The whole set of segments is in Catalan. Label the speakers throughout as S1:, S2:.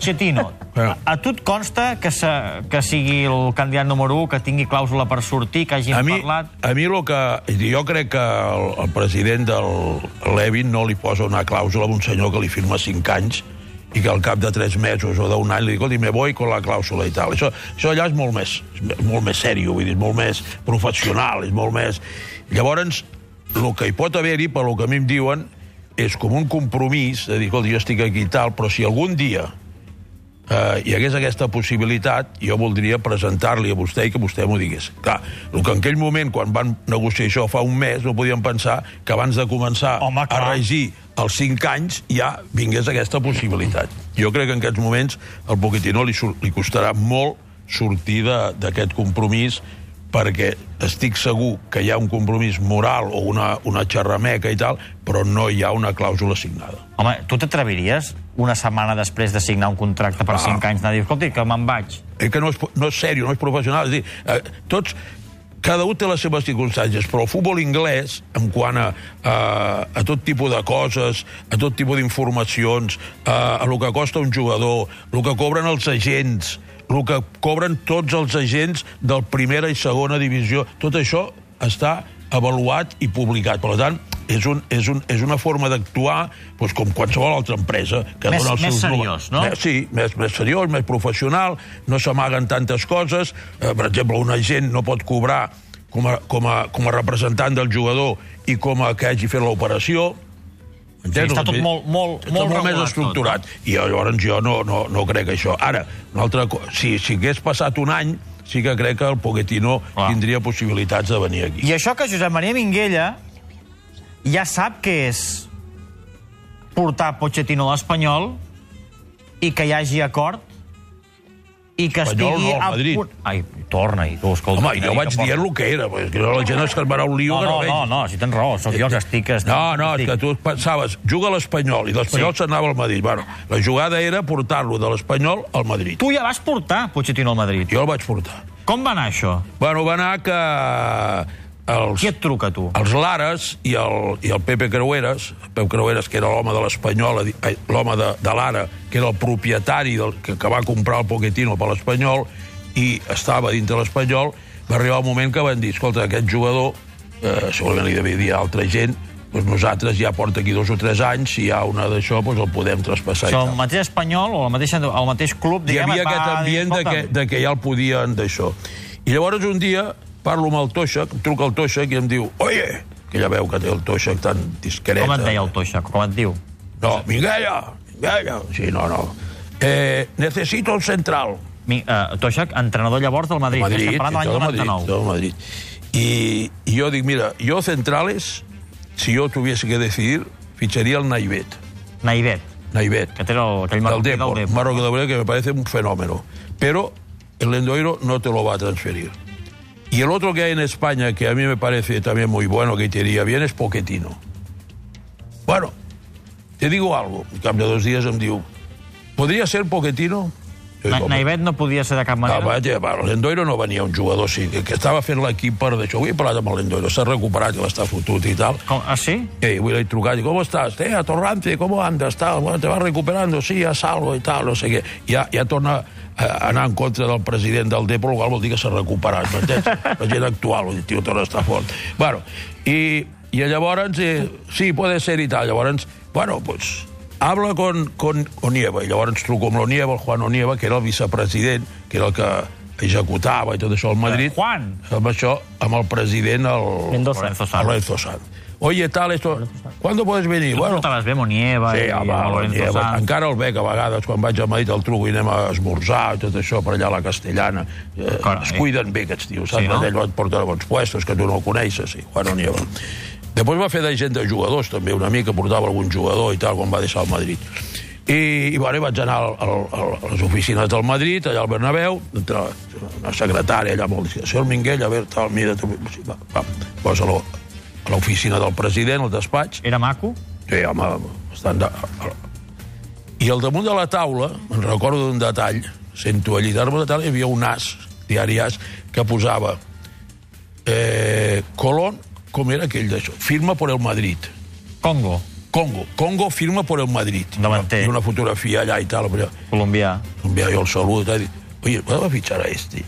S1: Pochettino,
S2: Ah.
S1: a tu et consta que, se, que sigui el candidat número 1, que tingui clàusula per sortir, que hagin
S2: A mi,
S1: parlat...
S2: a mi lo que, jo crec que el, el president del Levin no li posa una clàusula a un senyor que li firma 5 anys i que al cap de 3 mesos o d'un any li diu, me voy con la clàusula i tal. Això, això allà és molt més, és molt més sèrio, vull dir, és molt més professional, és molt més... Llavors, el que hi pot haver-hi, per lo que a mi em diuen, és com un compromís de dir, escolta, jo estic aquí i tal, però si algun dia eh, hi hagués aquesta possibilitat, jo voldria presentar-li a vostè i que vostè m'ho digués. Clar, el que en aquell moment, quan van negociar això fa un mes, no podíem pensar que abans de començar
S1: Home,
S2: a
S1: clar.
S2: regir els cinc anys ja vingués aquesta possibilitat. Jo crec que en aquests moments al Pochettino li, sur- li costarà molt sortir de- d'aquest compromís perquè estic segur que hi ha un compromís moral o una, una xerrameca i tal, però no hi ha una clàusula signada.
S1: Home, tu t'atreviries una setmana després de signar un contracte
S2: Ah.
S1: per 5 anys anar a dir, escolti, que me'n vaig?
S2: Eh, que no és, no és sèrio, no és professional. És a dir, eh, tots, cada un té les seves circumstàncies, però el futbol anglès, en quant a, a, a tot tipus de coses, a tot tipus d'informacions, a, a lo que costa un jugador, el que cobren els agents, el que cobren tots els agents del primera i segona divisió, tot això està avaluat i publicat. Per tant, és, un, és, un, és una forma d'actuar doncs, com qualsevol altra empresa que
S1: Més-
S2: dona els
S1: més
S2: seus...
S1: seriós, no?
S2: Més, sí, més, més seriós, més professional, no s'amaguen tantes coses. Eh, per exemple, un agent no pot cobrar com a, com a, com a representant del jugador i com a que hagi fet l'operació.
S1: Sí,
S2: Entens?
S1: està tot molt, molt,
S2: Està molt, més
S1: regulat
S2: estructurat. I llavors jo no, no, no crec això. Ara, una altra co- si, si hagués passat un any, sí que crec que el Pochettino
S1: Clar.
S2: tindria possibilitats de venir aquí.
S1: Tot. I això que Josep Maria Minguella ja sap que és portar Pochettino a l'Espanyol i que hi hagi acord i que
S2: Espanyol
S1: estigui...
S2: no,
S1: a
S2: Madrid.
S1: punt- Ai, torna-hi, tu, escolta.
S2: Home,
S1: quina
S2: jo
S1: mica
S2: vaig
S1: porta.
S2: dient el que era, perquè és que no, la gent es calmarà un lío
S1: No,
S2: que no
S1: no,
S2: veig.
S1: no, no, si tens raó, sóc jo els estiques.
S2: No, no, és que tu pensaves, juga a l'Espanyol, i l'Espanyol
S1: Sí.
S2: sí. s'anava al Madrid. Bueno, la jugada era portar-lo de l'Espanyol al Madrid.
S1: Tu ja vas portar Pochettino al Madrid.
S2: Jo el vaig portar.
S1: Com va anar això?
S2: Bueno, va anar que els,
S1: Qui et truca, tu?
S2: els Lares i el, i el Pepe Creueres, Pep Creueres, que era l'home de l'Espanyol, ai, l'home de, de l'Ara, que era el propietari del, que, que va comprar el Pochettino per l'Espanyol, i estava dintre l'Espanyol, va arribar un moment que van dir, escolta, aquest jugador, eh, segurament li devia dir a altra gent, doncs nosaltres ja porta aquí dos o tres anys, si hi ha una d'això, doncs el podem traspassar. i
S1: Això,
S2: tal
S1: el mateix espanyol o el mateix, el mateix club,
S2: hi
S1: diguem,
S2: havia
S1: et va
S2: aquest
S1: dir,
S2: ambient de que,
S1: "Escolta'm,
S2: de que ja el podien d'això. I llavors un dia parlo amb el Toixac, em truca el Toixac i em diu, oye, que ja veu que té el Toixac tan discret.
S1: Com et
S2: eh?
S1: deia el Toixa? Com et diu?
S2: No, Minguella, Minguella. Sí, no, no. Eh, necesito un central.
S1: Mi, uh, Toixa, entrenador llavors del Madrid.
S2: Madrid,
S1: Estem parlant de
S2: i tot
S1: l'any
S2: Madrid,
S1: 99.
S2: todo Madrid. Y, y yo digo, mira, yo centrales, si yo tuviese que decidir, ficharía al Naivet.
S1: Naivet,
S2: Naivet.
S1: que té el, aquell
S2: del
S1: marroquí
S2: Depor,
S1: del Depor.
S2: Marroquí del Depor, que me parece un fenómeno. Pero el Lendoiro no te lo va a transferir. Y el otro que hay en España, que a mí me parece también muy bueno, que te iría bien, es Poquetino. Bueno, te digo algo. En cambio, dos días em diu, ¿podría ser Poquetino?
S1: Na- Naivet no podia ser de cap manera.
S2: Ah, vaja, va, l'Endoiro no venia un jugador, sí, que, que estava fent l'equip per d'això. Avui he parlat amb l'Endoiro, s'ha recuperat, que l'està fotut i tal.
S1: Com, ah, sí?
S2: Eh, avui l'he trucat, dic, ¿cómo estás? Eh, a Torrance, ¿cómo andas? Tal, bueno, te vas recuperando, sí, a salvo i tal, no sé què. Ja, ja torna eh, a anar en contra del president del Depor, el qual vol dir que s'ha recuperat, m'entens? La gent actual, el tio torna a estar fort. Bueno, i, i llavors, eh, sí, puede ser i tal, llavors, bueno, pues, habla con, con Onieva, i llavors truco amb l'Onieva, el Juan Onieva, que era el vicepresident, que era el que executava i tot això al Madrid.
S1: Juan.
S2: Amb això, amb el president, el...
S3: Mendoza.
S1: Lorenzo Sanz.
S2: Lorenzo Sanz. Oye, tal, esto... ¿Cuándo puedes venir?
S1: Tu
S2: Bueno,
S1: portaves bé Monieva
S2: sí,
S1: i
S2: home,
S1: el
S2: ja,
S1: Lorenzo Sanz.
S2: encara el veig a vegades, quan vaig a Madrid al truco i anem a esmorzar i tot això per allà a la Castellana. Eh,
S1: Carai.
S2: es cuiden bé aquests tios, saps?
S1: Sí,
S2: Sí,
S1: no?
S2: no? Ell et porta a bons puestos, que tu no el coneixes, sí, Juan Onieva. Després va fer de gent de jugadors, també, una mica, portava algun jugador i tal, quan va deixar el Madrid. I, i bueno, i vaig anar al, al, al, a les oficines del Madrid, allà al Bernabéu, entre una secretària allà molt... discreta, Senyor Minguell, a veure, tal, mira, tu... sí, va, va, posa-lo a l'oficina del president, al despatx,
S1: Era maco?
S2: Sí, home, estan de... I al damunt de la taula, me'n recordo d'un detall, sento allí, al damunt de la taula hi havia un as, diari as, que posava eh, Colón, com era aquell d'això? Firma por el Madrid.
S1: Congo.
S2: Congo. Congo firma por el Madrid.
S1: Davanter.
S2: Y una fotografía allà i tal. Però
S1: colombià.
S2: un dia jo el saludo i dic, oye, podeu fitxar a este?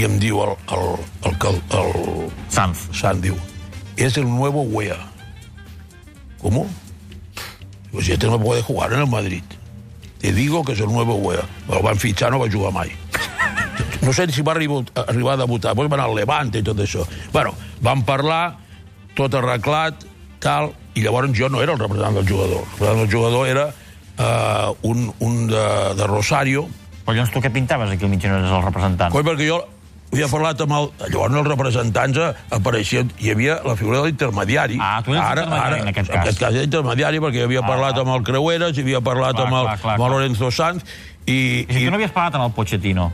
S2: I em diu el, el, el, el, el,
S1: Sanz.
S2: San diu, es el nuevo Wea. ¿Cómo? Digo, si este no puede jugar en el Madrid. Te digo que es el nuevo Wea. El van fitxar, no va jugar mai. No sé si va arribar, arribar a debutar, doncs va anar al Levante i tot això. Bueno, vam parlar, tot arreglat, tal, i llavors jo no era el representant del jugador. El representant del jugador era eh, un, un de, de Rosario,
S1: Però llavors tu què pintaves aquí al mig no eres el representant?
S2: Coi, perquè jo havia parlat amb el... Llavors els representants eh, apareixien... Hi havia la figura de l'intermediari.
S1: Ah, tu eres intermediari en aquest cas.
S2: En aquest cas era intermediari, perquè jo havia ah, parlat amb el Creueras, hi havia parlat
S1: Clar,
S2: clar, amb, el,
S1: clar, clar,
S2: amb el
S1: clar.
S2: Lorenzo Sanz, i...
S1: I si
S2: i
S1: tu no havies parlat amb el Pochettino.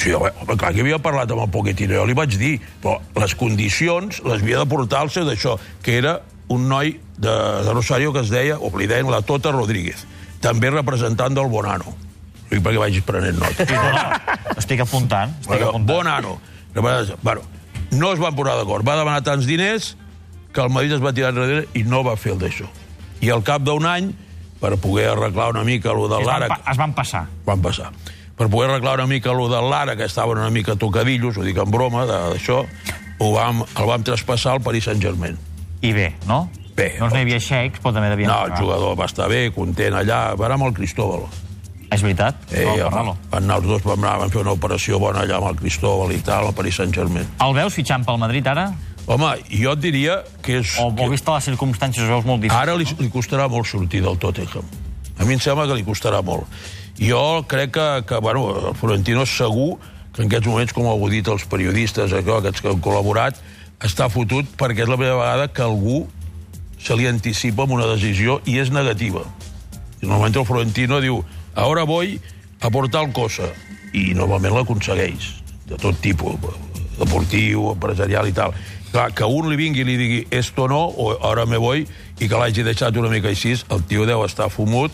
S2: Sí, home, home, clar que havia parlat amb el Pochettino, jo li vaig dir, però les condicions les havia de portar al seu d'això, que era un noi de, de Rosario que es deia, o li deien la Tota Rodríguez, també representant del Bonano. Ho dic perquè vagis prenent nota.
S1: Estic apuntant. Estic
S2: Bueno,
S1: apuntant.
S2: bon ano. Bueno, no es van posar d'acord. Va demanar tants diners que el Madrid es va tirar enrere i no va fer el d'això. I al cap d'un any, per poder arreglar una mica el de
S1: Es van,
S2: l'ara...
S1: pa- es van passar.
S2: Van passar. Per poder arreglar una mica el de l'ara, que estaven una mica tocadillos, ho dic en broma, de- d'això, ho vam, el vam traspassar al Paris Saint-Germain.
S1: I bé, no?
S2: Bé.
S1: No hi havia xeics, però també devien...
S2: No, el
S1: pagar.
S2: jugador va estar bé, content allà, va anar amb el Cristóbal.
S1: És veritat?
S2: Eh,
S1: no,
S2: van,
S1: parla-lo.
S2: van anar els dos, van, anar, van fer una operació bona allà amb el Cristóbal i tal, al Paris Saint-Germain.
S1: El veus fitxant pel Madrid ara?
S2: Home, jo et diria que és...
S1: O, o
S2: que
S1: vista les circumstàncies ho veus molt difícil?
S2: ara li, li costarà molt sortir del Tottenham. A mi em sembla que li costarà molt. Jo crec que, que bueno, el Florentino és segur que en aquests moments, com ho heu dit els periodistes, això, aquests que han col·laborat, està fotut perquè és la primera vegada que algú se li anticipa amb una decisió i és negativa. I normalment el Florentino diu «Ahora voy a por tal cosa» i normalment l'aconsegueix, de tot tipus, deportiu, empresarial i tal. Clar, que un li vingui i li digui «esto no» o «ahora me voy» i que l'hagi deixat una mica així, el tio deu estar fumut.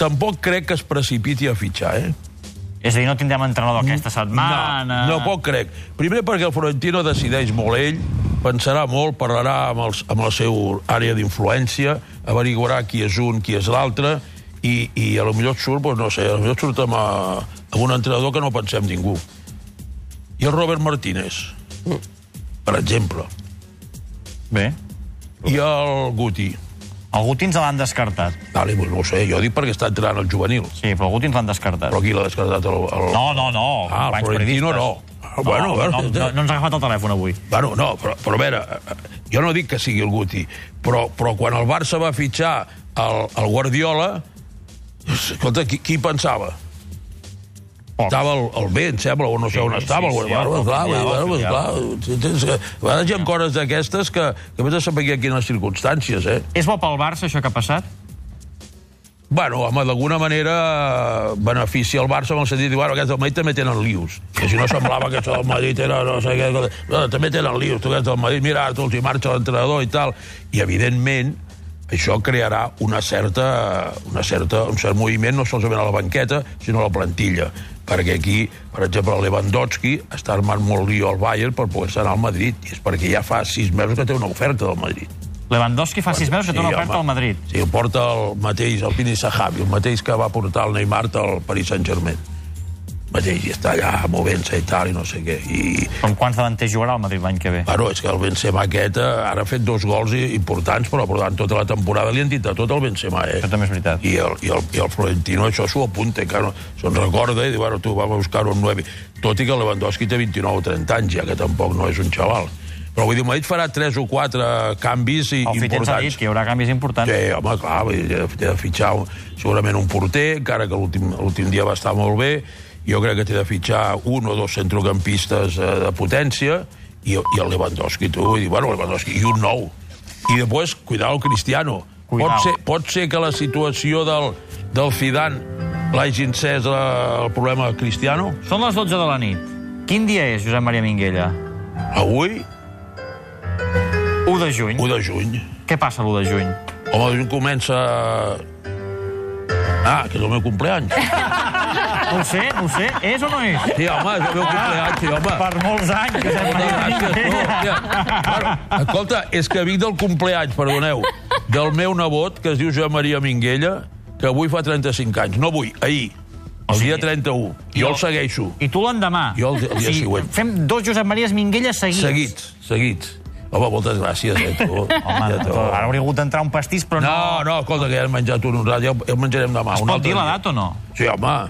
S2: Tampoc crec que es precipiti a fitxar, eh?
S1: És a dir, no tindrem entrenador aquesta setmana...
S2: No, no poc crec. Primer perquè el Florentino decideix molt ell, pensarà molt, parlarà amb, els, amb la seva àrea d'influència, averiguarà qui és un, qui és l'altre, i, i a lo millor et surt, doncs, no sé, a lo millor et surt amb, eh, amb un entrenador que no pensem ningú. I el Robert Martínez, per exemple.
S1: Bé.
S2: I el Guti.
S1: El Gutins l'han descartat.
S2: Vale, doncs no ho sé, jo dic perquè està entrant el juvenil.
S1: Sí, però el Gutins l'han descartat.
S2: Però aquí l'ha descartat el... el...
S1: No, no, no.
S2: Ah, el
S1: companys
S2: Florentino
S1: periodistes.
S2: no. Ah, bueno,
S1: no,
S2: bueno,
S1: no, no, no ens ha agafat el telèfon avui.
S2: Bueno, no, però, però a veure, eh, eh, jo no dic que sigui el Guti, però, però quan el Barça va fitxar el, el Guardiola, escolta, qui, qui pensava?
S1: Poc.
S2: Estava el, el B, em sembla, o no sé
S1: Sí,
S2: on
S1: sí,
S2: estava.
S1: sí,
S2: el Guardiola,
S1: el
S2: clar,
S1: filial,
S2: bueno,
S1: el
S2: pues,
S1: filial.
S2: clar, tens que- a vegades hi ha coses d'aquestes que, que vés a saber a quines circumstàncies, eh?
S1: És bo pel Barça, això que ha passat?
S2: Bueno, home, d'alguna manera eh, beneficia el Barça en el sentit de dir, bueno, aquests del Madrid també tenen lius. Que si no semblava que això del Madrid era no sé què... cosa. No, també tenen lius, tu aquests del Madrid, mira, ara els hi marxa l'entrenador i tal. I, evidentment, això crearà una certa, una certa, un cert moviment, no solament a la banqueta, sinó a la plantilla. Perquè aquí, per exemple, el Lewandowski està armant molt lío al Bayern per poder-se anar al Madrid. I és perquè ja fa sis mesos que té una oferta del Madrid.
S1: Lewandowski fa sis mesos que té una
S2: Sí,
S1: oferta
S2: home.
S1: al Madrid.
S2: Sí, el porta el mateix, el Pini Sahabi, el mateix que va portar el Neymar al Paris Saint-Germain. El mateix, i està allà movent-se i tal, i no sé què. I,
S1: Amb quants davanters jugarà el Madrid l'any que ve?
S2: bueno, és que el Benzema aquest eh, ara ha fet dos gols i- importants, però portant tota la temporada li han dit de tot el Benzema, eh?
S1: Això també és veritat.
S2: I el, i el, i el Florentino això s'ho apunta, que no, se'n recorda i diu, bueno, tu, vam a buscar un 9. Tot i que el Lewandowski té 29 o 30 anys, ja que tampoc no és un xaval. Però vull dir, el Madrid farà 3 o 4 canvis i,
S1: El Fitens ha
S2: importants.
S1: dit que hi haurà canvis importants.
S2: Sí, home, clar, vull dir, té de fitxar un- segurament un porter, encara que l'últim l'últim dia va estar molt bé. Jo crec que té de fitxar un o dos centrocampistes eh, de potència i, i el Lewandowski, tu, vull dir, bueno, Lewandowski, i un nou. I després, cuidao, Cristiano.
S1: Cuidao.
S2: Pot ser, pot ser que la situació del, del Zidane l'hagi encès eh, el problema de Cristiano?
S1: Són les 12 de la nit. Quin dia és, Josep Maria Minguella?
S2: Avui,
S1: 1 de juny.
S2: 1 de juny.
S1: Què passa l'1 de juny?
S2: Home, el juny comença... Ah, que és el meu compleany.
S1: No ho sé, no ho sé. És o no és?
S2: Sí, home, és el meu compleany, sí, home.
S1: Per molts anys, Josep Maria
S2: Moltes gràcies, tu.
S1: Minguella.
S2: Hòstia. Bueno, escolta, és que vinc del compleany, perdoneu. del meu nebot, que es diu Joan Maria Minguella, que avui fa 35 anys. No avui, ahir. El dia 31. Jo el segueixo.
S1: I tu l'endemà.
S2: Jo el, el dia
S1: Sí,
S2: següent.
S1: fem dos Josep Maries Minguelles seguits.
S2: Seguits, seguits. Home, moltes gràcies, eh, tu.
S1: Home,
S2: Ja, tu.
S1: ara hauria hagut d'entrar un pastís, però no...
S2: No, no, escolta, que ja hem menjat un, un ja, ja el menjarem demà.
S1: Es
S2: un
S1: pot
S2: altre
S1: dir la
S2: dia.
S1: data o no?
S2: Sí, home,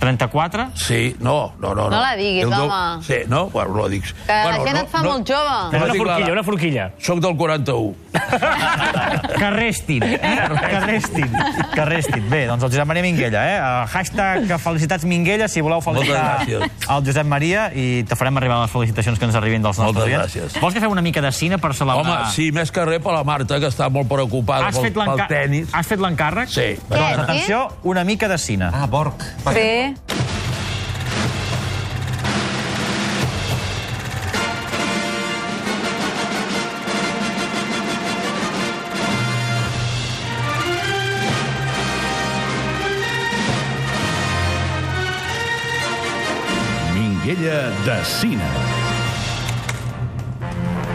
S1: 34?
S2: sí, no, no, no.
S3: No la diguis,
S2: Heu de-
S3: home.
S2: Sí, no? Bueno, no la dics.
S3: Que la gent et fa molt jove.
S2: No
S4: És
S2: la
S4: una
S2: dic la-
S4: forquilla, una forquilla.
S2: Soc del 41.
S1: Que restin, eh? Que restin. Que restin. Bé, doncs el Josep Maria Minguella, eh? El hashtag felicitats Minguella, si voleu felicitar
S2: Moltes gràcies.
S1: el Josep Maria i te farem arribar les felicitacions que ens arribin dels nostres
S2: Moltes
S1: oients.
S2: gràcies.
S1: Vols que fem una mica de cine per celebrar...
S2: Home, sí, més que res per la Marta, que està molt preocupada
S1: Has
S2: pel,
S1: fet
S2: pel
S1: l'enca-
S2: tenis.
S1: Has fet l'encàrrec?
S2: Sí.
S3: Què? eh?
S1: Doncs atenció, una mica de cine.
S5: Ah, Borg.
S3: Sí.
S6: Minguella de Cine.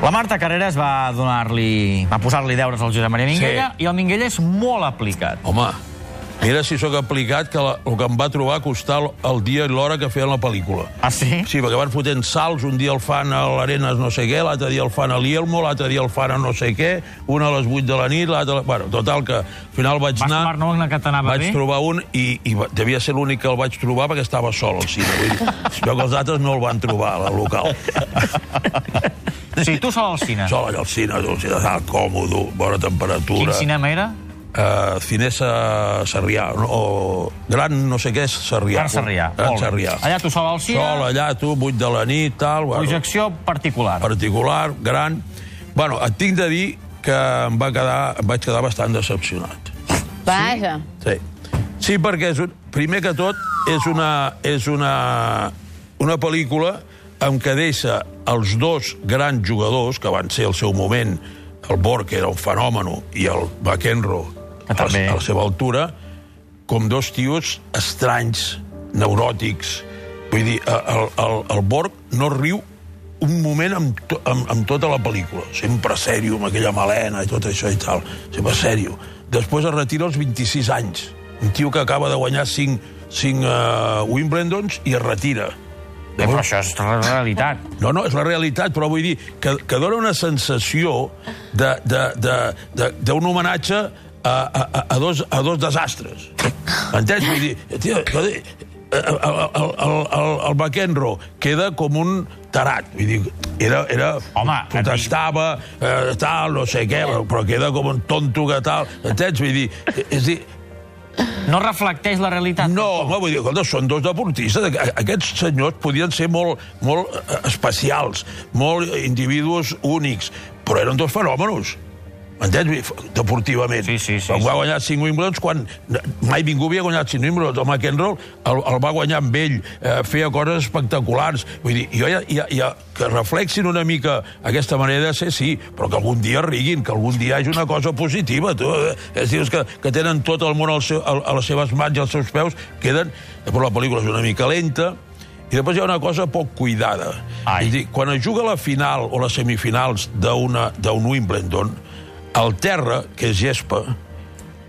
S1: La Marta Carreras va donar-li... va posar-li deures al Josep Maria Minguella
S2: Sí.
S1: i el Minguella és molt aplicat.
S2: Home, mira si sóc aplicat, que la, el que em va trobar costar el, el dia i l'hora que feien la pel·lícula.
S1: Ah, sí?
S2: Sí, perquè van fotent salts, un dia el fan a l'Arenas no sé què, l'altre dia el fan a l'Ielmo, l'altre dia el fan a no sé què, un a les 8 de la nit, l'altre... Bueno, total, que al final vaig
S1: Vas
S2: anar...
S1: trobar-ne una que t'anava
S2: Vaig
S1: bé?
S2: trobar un i, i va- devia ser l'únic que el vaig trobar perquè estava sol al cine. Vull dir, jo que els altres no el van trobar al local.
S1: Sí, tu sol al cine.
S2: Sol allà al cine, al cine tal, còmodo, bona temperatura.
S1: Quin cinema era?
S2: Uh, Cinesa Sarrià, no, o Gran no sé què és Sarrià.
S1: Gran Sarrià.
S2: Gran
S1: Molt bé.
S2: Sarrià.
S1: Allà tu sol al cine.
S2: Sol, allà tu, 8 de la nit, tal... Bueno,
S1: Projecció particular.
S2: particular, gran... Bueno, et tinc de dir que em, va quedar, em vaig quedar bastant decepcionat.
S3: Vaja.
S2: Sí. Sí, perquè és un, primer que tot és una, és una, una pel·lícula en què deixa els dos grans jugadors, que van ser al seu moment el Borg, que era un fenòmeno, i el McEnroe,
S1: Que
S2: a, la-
S1: també.
S2: a la seva altura, com dos tios estranys, neuròtics. Vull dir, el, el, el Borg no riu un moment amb, to, amb, amb tota la pel·lícula. Sempre sèrio, amb aquella melena i tot això i tal. Sempre sèrio. Després es retira als 26 anys. Un tio que acaba de guanyar 5, 5 uh, Wimbledons i es retira.
S1: Eh, però això és la realitat.
S2: No, no, és la realitat, però vull dir que, que dona una sensació de- de- de- de- d'un homenatge a, a, a- a, dos, a dos desastres. Entens? Vull dir, tio, jo dic, el, el, el, el, el McEnroe queda com un tarat. Vull dir, era, era
S1: Home,
S2: protestava, eh, tal, no sé què, però- però queda com un tonto que tal. Entens? Vull dir, és a dir,
S1: No reflecteix la realitat.
S2: no, home, vull dir, escolta, són dos deportistes. A- Aquests senyors podien ser molt, molt eh, especials, molt individus únics, però eren dos fenòmenos. M'entens? Vull dir, f- Deportivament.
S1: Sí, sí, sí,
S2: Quan va
S1: sí.
S2: guanyar 5 Wimbledons, quan mai ningú havia guanyat 5 Wimbledons. El McEnroe el, el va guanyar amb ell, eh, feia coses espectaculars. Vull dir, jo ja, ja, ja, que reflexin una mica aquesta manera de ser, sí, però que algun dia riguin, que algun dia hi hagi una cosa positiva. Tu, eh, és dius que, que tenen tot el món al seu, al, a les seves mans i als seus peus, queden... Però la pel·lícula és una mica lenta, i després hi ha una cosa poc cuidada.
S1: Ai.
S2: És a dir, quan es juga la final o les semifinals d'una- d'un Wimbledon, el terra, que és gespa,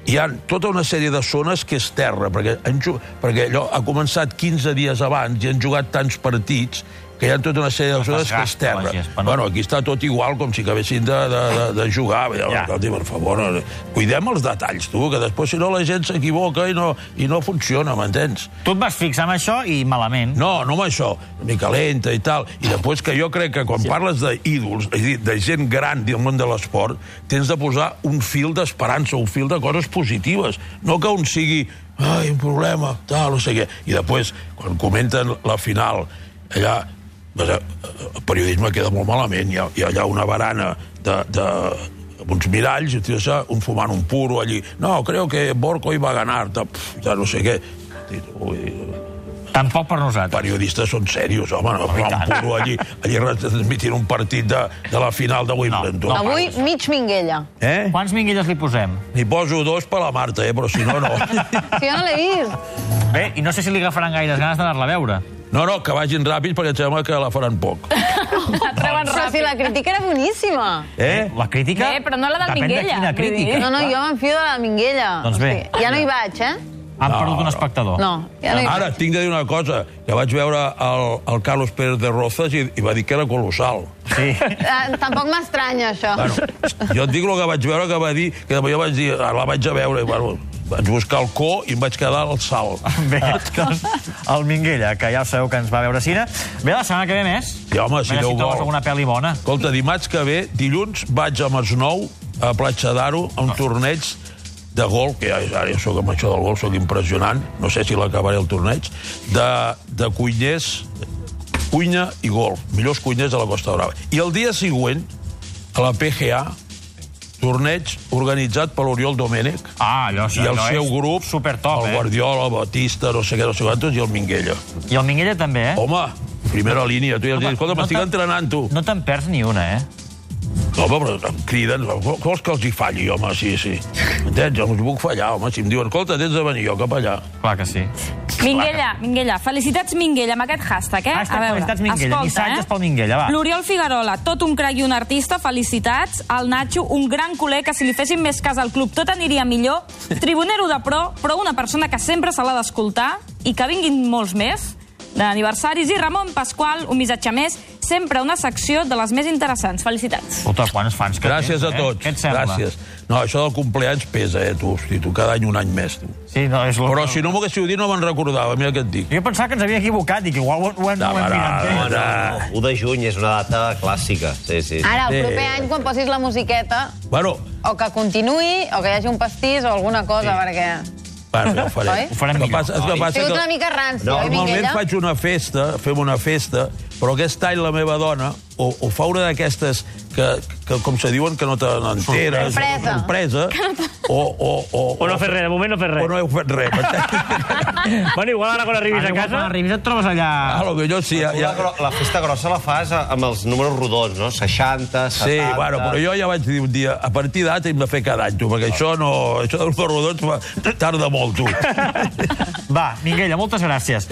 S2: hi ha tota una sèrie de zones que és terra, perquè, han, ju- perquè allò ha començat 15 dies abans i han jugat tants partits que hi ha tota una sèrie de zones que és
S1: desgasta la
S2: terra.
S1: gespa, no?
S2: Bueno, aquí està tot igual, com si acabessin de, de, de, de jugar. Ja.
S1: Ja.
S2: Escolti, per favor, no- cuidem els detalls, tu, que després, si no, la gent s'equivoca i, no, i no funciona, m'entens?
S1: Tu et vas fixar en això i malament.
S2: No, no amb això, una mica lenta i tal. I després que jo crec que quan sí. parles d'ídols, és a dir, de gent gran del món de l'esport, tens de posar un fil d'esperança, un fil de coses positives. No que un sigui, ai, un problema, tal, no sé què. I després, quan comenten la final, allà, doncs, eh, el periodisme queda molt malament. Hi ha, hi ha allà una barana de, de amb uns miralls, i el tio s'ha un fumant un puro allí. No, creo que Borco hi va ganar, ta- pf, ja no sé què. Dic, Ui,
S1: Tampoc per nosaltres.
S2: periodistes són serios, home, no, però un puro allí, allí retransmitint un partit de, de la final de Wimbledon.
S1: No,
S3: Avui, mig Minguella.
S2: Eh?
S1: Quants minguelles li posem?
S2: N'hi poso dos per la Marta, eh? però si no, no.
S3: Si jo no l'he vist.
S1: Bé, i no sé si li agafaran gaires ganes d'anar-la a veure.
S2: No, no, que vagin ràpid perquè em sembla que la faran poc.
S4: La
S3: Però
S4: treuen
S3: si
S4: ràpid.
S3: la crítica era boníssima.
S1: Eh? La crítica...
S4: Bé, però no la del
S1: Depèn
S4: Minguella,
S1: de quina
S4: vull dir.
S1: crítica.
S3: No, no, jo m'enfio de la Minguella.
S1: Doncs bé.
S3: Hosti, Ja no hi vaig, eh?
S1: Han
S2: No,
S1: perdut
S2: no.
S1: un espectador.
S3: No, ja no hi
S2: Ara,
S3: vaig.
S2: tinc de dir una cosa, que vaig veure el, el Carlos Pérez de Rozas i, i va dir que era colossal.
S1: Sí.
S3: Eh, Tampoc m'estranya, això.
S2: Bueno, jo et dic el que vaig veure, que va dir, que jo vaig dir, "Ah, la vaig a veure, i bueno, vaig buscar el co i em vaig quedar al salt.
S1: Bé, doncs, el Minguella, que ja sabeu que ens va veure a cine. Bé, la setmana que ve més.
S2: Sí, home, si
S1: a veure
S2: Déu
S1: si trobes
S2: vol.
S1: alguna pel·li bona.
S2: Escolta, dimarts que ve, dilluns, vaig a Masnou, a Platja d'Aro, a un
S1: Ah.
S2: torneig de gol, que ja, ara ja sóc amb això del gol, sóc impressionant, no sé si l'acabaré el torneig, de, de cuiners, cuina i golf, millors cuiners de la Costa Brava. I el dia següent, a la PGA, torneig organitzat per l'Oriol Domènech,
S1: Ah, allò,
S2: i el
S1: allò
S2: seu
S1: és
S2: grup,
S1: Supertop,
S2: el
S1: eh?
S2: Guardiola, el Batista, no sé què, no sé quantos, i el Minguella.
S1: I el Minguella també, eh?
S2: Home, primera línia, tu ja els
S1: Home,
S2: dius, escolta,
S1: no
S2: m'estic
S1: t'ha-
S2: entrenant, tu.
S1: No te'n perds ni una, eh?
S2: No, home, però em criden. Vol- Vols que els hi falli, home? Sí, sí. Entens? Jo els puc fallar, home. Si em diuen, escolta, tens de venir jo cap allà.
S1: Clar que sí.
S4: Minguella, Minguella, felicitats Minguella amb aquest hashtag, eh?
S1: Hashtag
S4: A veure, eh?
S1: felicitats Minguella, missatges pel Minguella, va.
S4: L'Oriol Figuerola, tot un crac i un artista, felicitats. El Nacho, un gran culer que si li fessin més cas al club tot aniria millor. Tribunero de pro, però una persona que sempre se l'ha d'escoltar i que vinguin molts més d'aniversaris. I Ramon Pasqual, un missatge més, sempre una secció de les més interessants. Felicitats.
S1: Escolta, quants fans que
S2: Gràcies
S1: tens,
S2: a tots.
S1: Eh? Què et sembla?
S2: Gràcies. No, això del compleanys pesa, eh, tu. Hosti, tu, cada any un any més, tu.
S1: Sí, no, és lo...
S2: Però si no m'ho haguéssiu dit, no me'n recordava. Mira què et dic.
S1: Jo pensava que ens havia equivocat i que igual ho, ho hem,
S2: No,
S1: ho hem
S2: no,
S1: mirat bé.
S5: No, no, no, 1 de juny és una data clàssica. Sí, sí.
S3: Ara, el proper
S2: Sí.
S3: any, quan posis la musiqueta,
S2: Bueno,
S3: o que continuï, o que hi hagi un pastís o alguna cosa, perquè...
S2: bueno, ja ho
S3: Oi?
S2: farem.
S1: Ho farem
S2: El que
S1: millor.
S2: passa, és que
S5: Oi?
S3: Ha
S2: passa
S3: sigut
S2: que...
S3: una mica eh, ranci,
S5: No,
S3: oi,
S2: Normalment
S3: Minguella?
S2: faig una festa, fem una festa, però aquest any la meva dona o, o fa una d'aquestes que, que, com se diuen, que no te n'enteres.
S3: Sorpresa.
S2: Sorpresa. O, o, o,
S7: O no fes res, de moment no fes res.
S2: O no heu fet res.
S7: Bueno, igual ara quan arribis
S1: Ara,
S7: a
S1: igual, quan
S7: casa...
S1: arribis et trobes allà...
S2: Ah, lo que jo sí, ja,
S5: La,
S2: ja...
S5: gro- la festa grossa la fas a- amb els números rodons, no? 60, 70...
S2: Sí, bueno, però jo ja vaig dir un dia, a partir d'ara hem de fer cada any, tu, perquè això no... Això dels rodons fa- tarda molt, tu.
S1: Va, Minguella, moltes gràcies.